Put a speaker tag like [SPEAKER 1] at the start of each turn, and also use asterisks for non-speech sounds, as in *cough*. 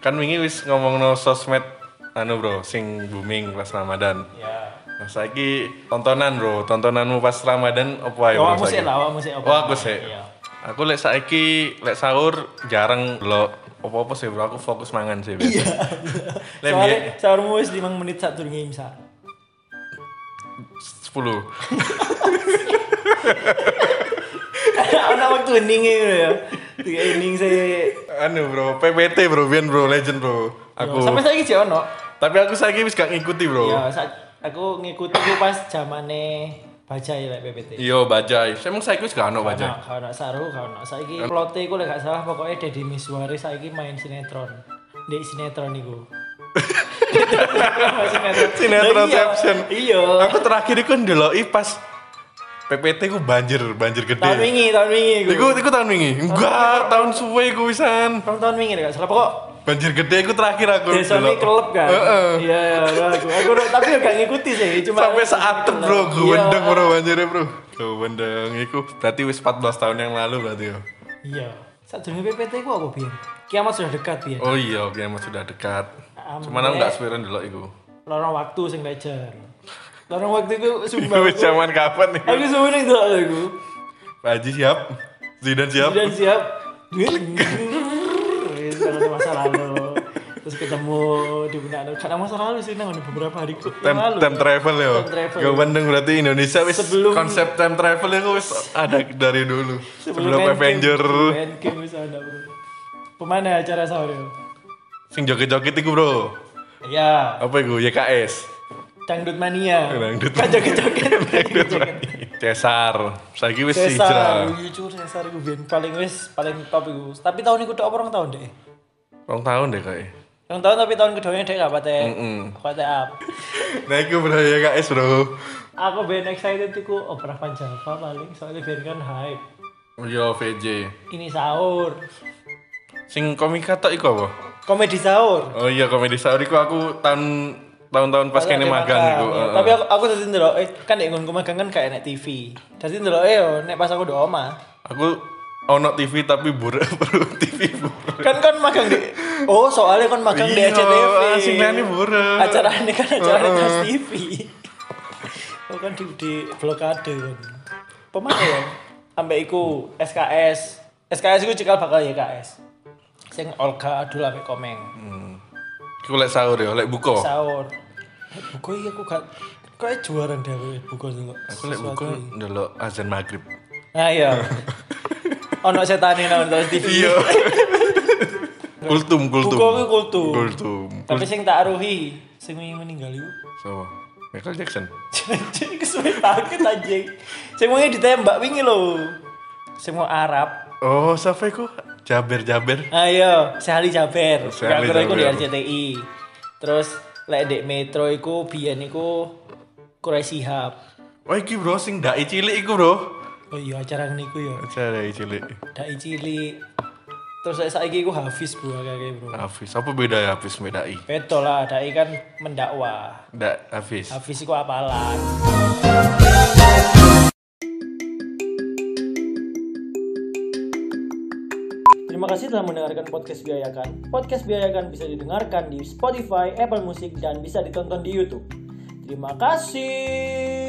[SPEAKER 1] kan wingi wis ngomong no sosmed anu bro sing booming pas Ramadan
[SPEAKER 2] Ya.
[SPEAKER 1] nah saiki tontonan bro tontonanmu pas Ramadan opo ae
[SPEAKER 2] Oh,
[SPEAKER 1] bro
[SPEAKER 2] aku sih
[SPEAKER 1] saiki?
[SPEAKER 2] lah, aku sih. apa?
[SPEAKER 1] Oh, aku sih.
[SPEAKER 2] Iya.
[SPEAKER 1] Aku lek saiki lek sahur jarang lo opo-opo sih bro, aku fokus mangan sih. Iya. Lek
[SPEAKER 2] Soalnya
[SPEAKER 1] biyen
[SPEAKER 2] sahurmu wis 5 menit saat durunge imsak.
[SPEAKER 1] 10.
[SPEAKER 2] *laughs* Ana waktu hening gitu ya. Tiga hening saya.
[SPEAKER 1] Anu bro, PPT bro, biyen bro, legend bro. Aku.
[SPEAKER 2] Sampai Iya, saiki sih ono.
[SPEAKER 1] Tapi aku saiki wis gak ngikuti bro.
[SPEAKER 2] Ya, sa- aku ngikuti ku pas zamane baca ya lek PPT.
[SPEAKER 1] Iya, bajai. Emang saiki wis gak ono bajai.
[SPEAKER 2] Nah, kalau nak saru, kalau nak saiki plote ku lek gak salah pokoknya Deddy Miswari saiki main sinetron. Dek sinetron
[SPEAKER 1] *laughs*
[SPEAKER 2] iku. sinetron.
[SPEAKER 1] Sinetronception.
[SPEAKER 2] Lah Iya. iya.
[SPEAKER 1] Aku terakhir iku ndeloki pas PPT ku banjir, banjir
[SPEAKER 2] Tahun
[SPEAKER 1] gede.
[SPEAKER 2] wingi, tahun wingi iku.
[SPEAKER 1] Iku iku tahun wingi. Enggak, tahun suwe iku pisan.
[SPEAKER 2] Rong tahun wingi gak salah pokok
[SPEAKER 1] Banjir gede iku terakhir aku.
[SPEAKER 2] desa ini
[SPEAKER 1] ndelok.
[SPEAKER 2] kelep kan.
[SPEAKER 1] Heeh.
[SPEAKER 2] Iya, iya, iya, aku. Aku tapi gak ngikuti sih, cuma
[SPEAKER 1] Sampai saat itu, bro, gue
[SPEAKER 2] Iya.
[SPEAKER 1] wendeng bro banjirnya bro. Gue wendeng iku. Berarti wis 14 tahun yang lalu berarti ya.
[SPEAKER 2] Iya. Saat dulu PPT ku aku biyen. Kiamat sudah dekat biyen.
[SPEAKER 1] Oh iya, kiamat sudah dekat.
[SPEAKER 2] Amin.
[SPEAKER 1] Cuman aku gak sepiran dulu iku.
[SPEAKER 2] Lorong waktu sing lejer. Lorong waktu ku
[SPEAKER 1] Iku
[SPEAKER 2] sumpah.
[SPEAKER 1] wis zaman kapan nih?
[SPEAKER 2] Aku sumpah ning delok aku.
[SPEAKER 1] Pak Haji siap? Zidane siap?
[SPEAKER 2] Dan siap. Wis kangen masa lalu. Terus ketemu di Bunda Karena masa lalu sih nang beberapa hari ku-
[SPEAKER 1] Time,
[SPEAKER 2] yang lalu.
[SPEAKER 1] time travel ya.
[SPEAKER 2] Time travel.
[SPEAKER 1] Gue bandeng berarti Indonesia wis
[SPEAKER 2] Sebelum-
[SPEAKER 1] konsep time travel itu wis ada dari dulu. Sebelum,
[SPEAKER 2] Endgame,
[SPEAKER 1] Avenger
[SPEAKER 2] sebelum Endgame wis ada, Bro. Pemana acara sahur ya?
[SPEAKER 1] sing joget-joget iku, Bro.
[SPEAKER 2] Iya,
[SPEAKER 1] Apa iku? YKS.
[SPEAKER 2] dangdut mania.
[SPEAKER 1] Dangdut
[SPEAKER 2] Kan joget-joget.
[SPEAKER 1] Cesar. Saiki wis
[SPEAKER 2] Cesar,
[SPEAKER 1] hijrah.
[SPEAKER 2] jujur Cesar iku ben paling wis paling top iku. Tapi tahun iku tok apa rong tahun deh.
[SPEAKER 1] Rong tahun deh kayaknya.
[SPEAKER 2] Rong tahun tapi tahun kedoanya deh gak pate. Pate up.
[SPEAKER 1] Nah, iku bro YKS, Bro.
[SPEAKER 2] Aku ben excited iku opera Van Java paling soalnya ben kan hype.
[SPEAKER 1] Yo VJ.
[SPEAKER 2] Ini sahur.
[SPEAKER 1] Sing komika tok iku apa?
[SPEAKER 2] Komedi sahur.
[SPEAKER 1] Oh iya komedi sahur iku aku tahun tahun-tahun pas kene
[SPEAKER 2] Ada
[SPEAKER 1] magang iku.
[SPEAKER 2] ya.
[SPEAKER 1] heeh.
[SPEAKER 2] Tapi aku aku tadi ndelok eh kan nek nggonku magang kan kayak nek TV. Tadi ndelok eh yo, nek pas aku do omah.
[SPEAKER 1] Aku ono TV tapi buruk *laughs* bro TV buruk.
[SPEAKER 2] Kan kan magang di Oh, soalnya kan magang di
[SPEAKER 1] Iya,
[SPEAKER 2] SCTV.
[SPEAKER 1] asing nani buruk.
[SPEAKER 2] Acara ini kan acara Trans TV. Oh kan di, di blokade kan. Pemain ya. Ambek iku SKS. SKS iku cikal bakal YKS. Sing Olga Adul ambek Komeng.
[SPEAKER 1] Iku lek sahur ya, lek buka.
[SPEAKER 2] Sahur. Eh, Buku iki aku gak Kok juara dhewe buku sing kok.
[SPEAKER 1] Aku lek
[SPEAKER 2] sesuatu
[SPEAKER 1] buka ndelok azan maghrib.
[SPEAKER 2] Nah
[SPEAKER 1] *laughs*
[SPEAKER 2] iya. ono setane nang terus TV. *laughs*
[SPEAKER 1] Iya. kultum kultum.
[SPEAKER 2] Buku aku kultum.
[SPEAKER 1] Kultum.
[SPEAKER 2] Tapi sing tak aruhi, sing wingi meninggal iku.
[SPEAKER 1] Sama. Michael Jackson.
[SPEAKER 2] Jadi kesuwe paket anjing. Sing wingi ditembak wingi lho. Sing wong Arab.
[SPEAKER 1] Oh, siapa iku? Jaber Jaber.
[SPEAKER 2] Ayo, Sehali Jaber.
[SPEAKER 1] Sehali
[SPEAKER 2] Sehali Jaber. iku di
[SPEAKER 1] Jaber.
[SPEAKER 2] RCTI. Terus lek dek metro iku biyen iku Kurai Sihab.
[SPEAKER 1] Wah, Oh, iki bro sing dai cilik iku, Bro.
[SPEAKER 2] Oh iya acara ngene iku ya.
[SPEAKER 1] Aja dai cilik.
[SPEAKER 2] Dai cilik. Terus lek saiki iku Hafiz bro kakek bro.
[SPEAKER 1] Hafiz, apa beda ya Hafiz sama dai?
[SPEAKER 2] Betul lah, dai kan mendakwah.
[SPEAKER 1] Da, Hafiz.
[SPEAKER 2] Hafiz Nah, iku apalan. Terima kasih telah mendengarkan podcast Biayakan. Podcast Biayakan bisa didengarkan di Spotify, Apple Music, dan bisa ditonton di YouTube. Terima kasih.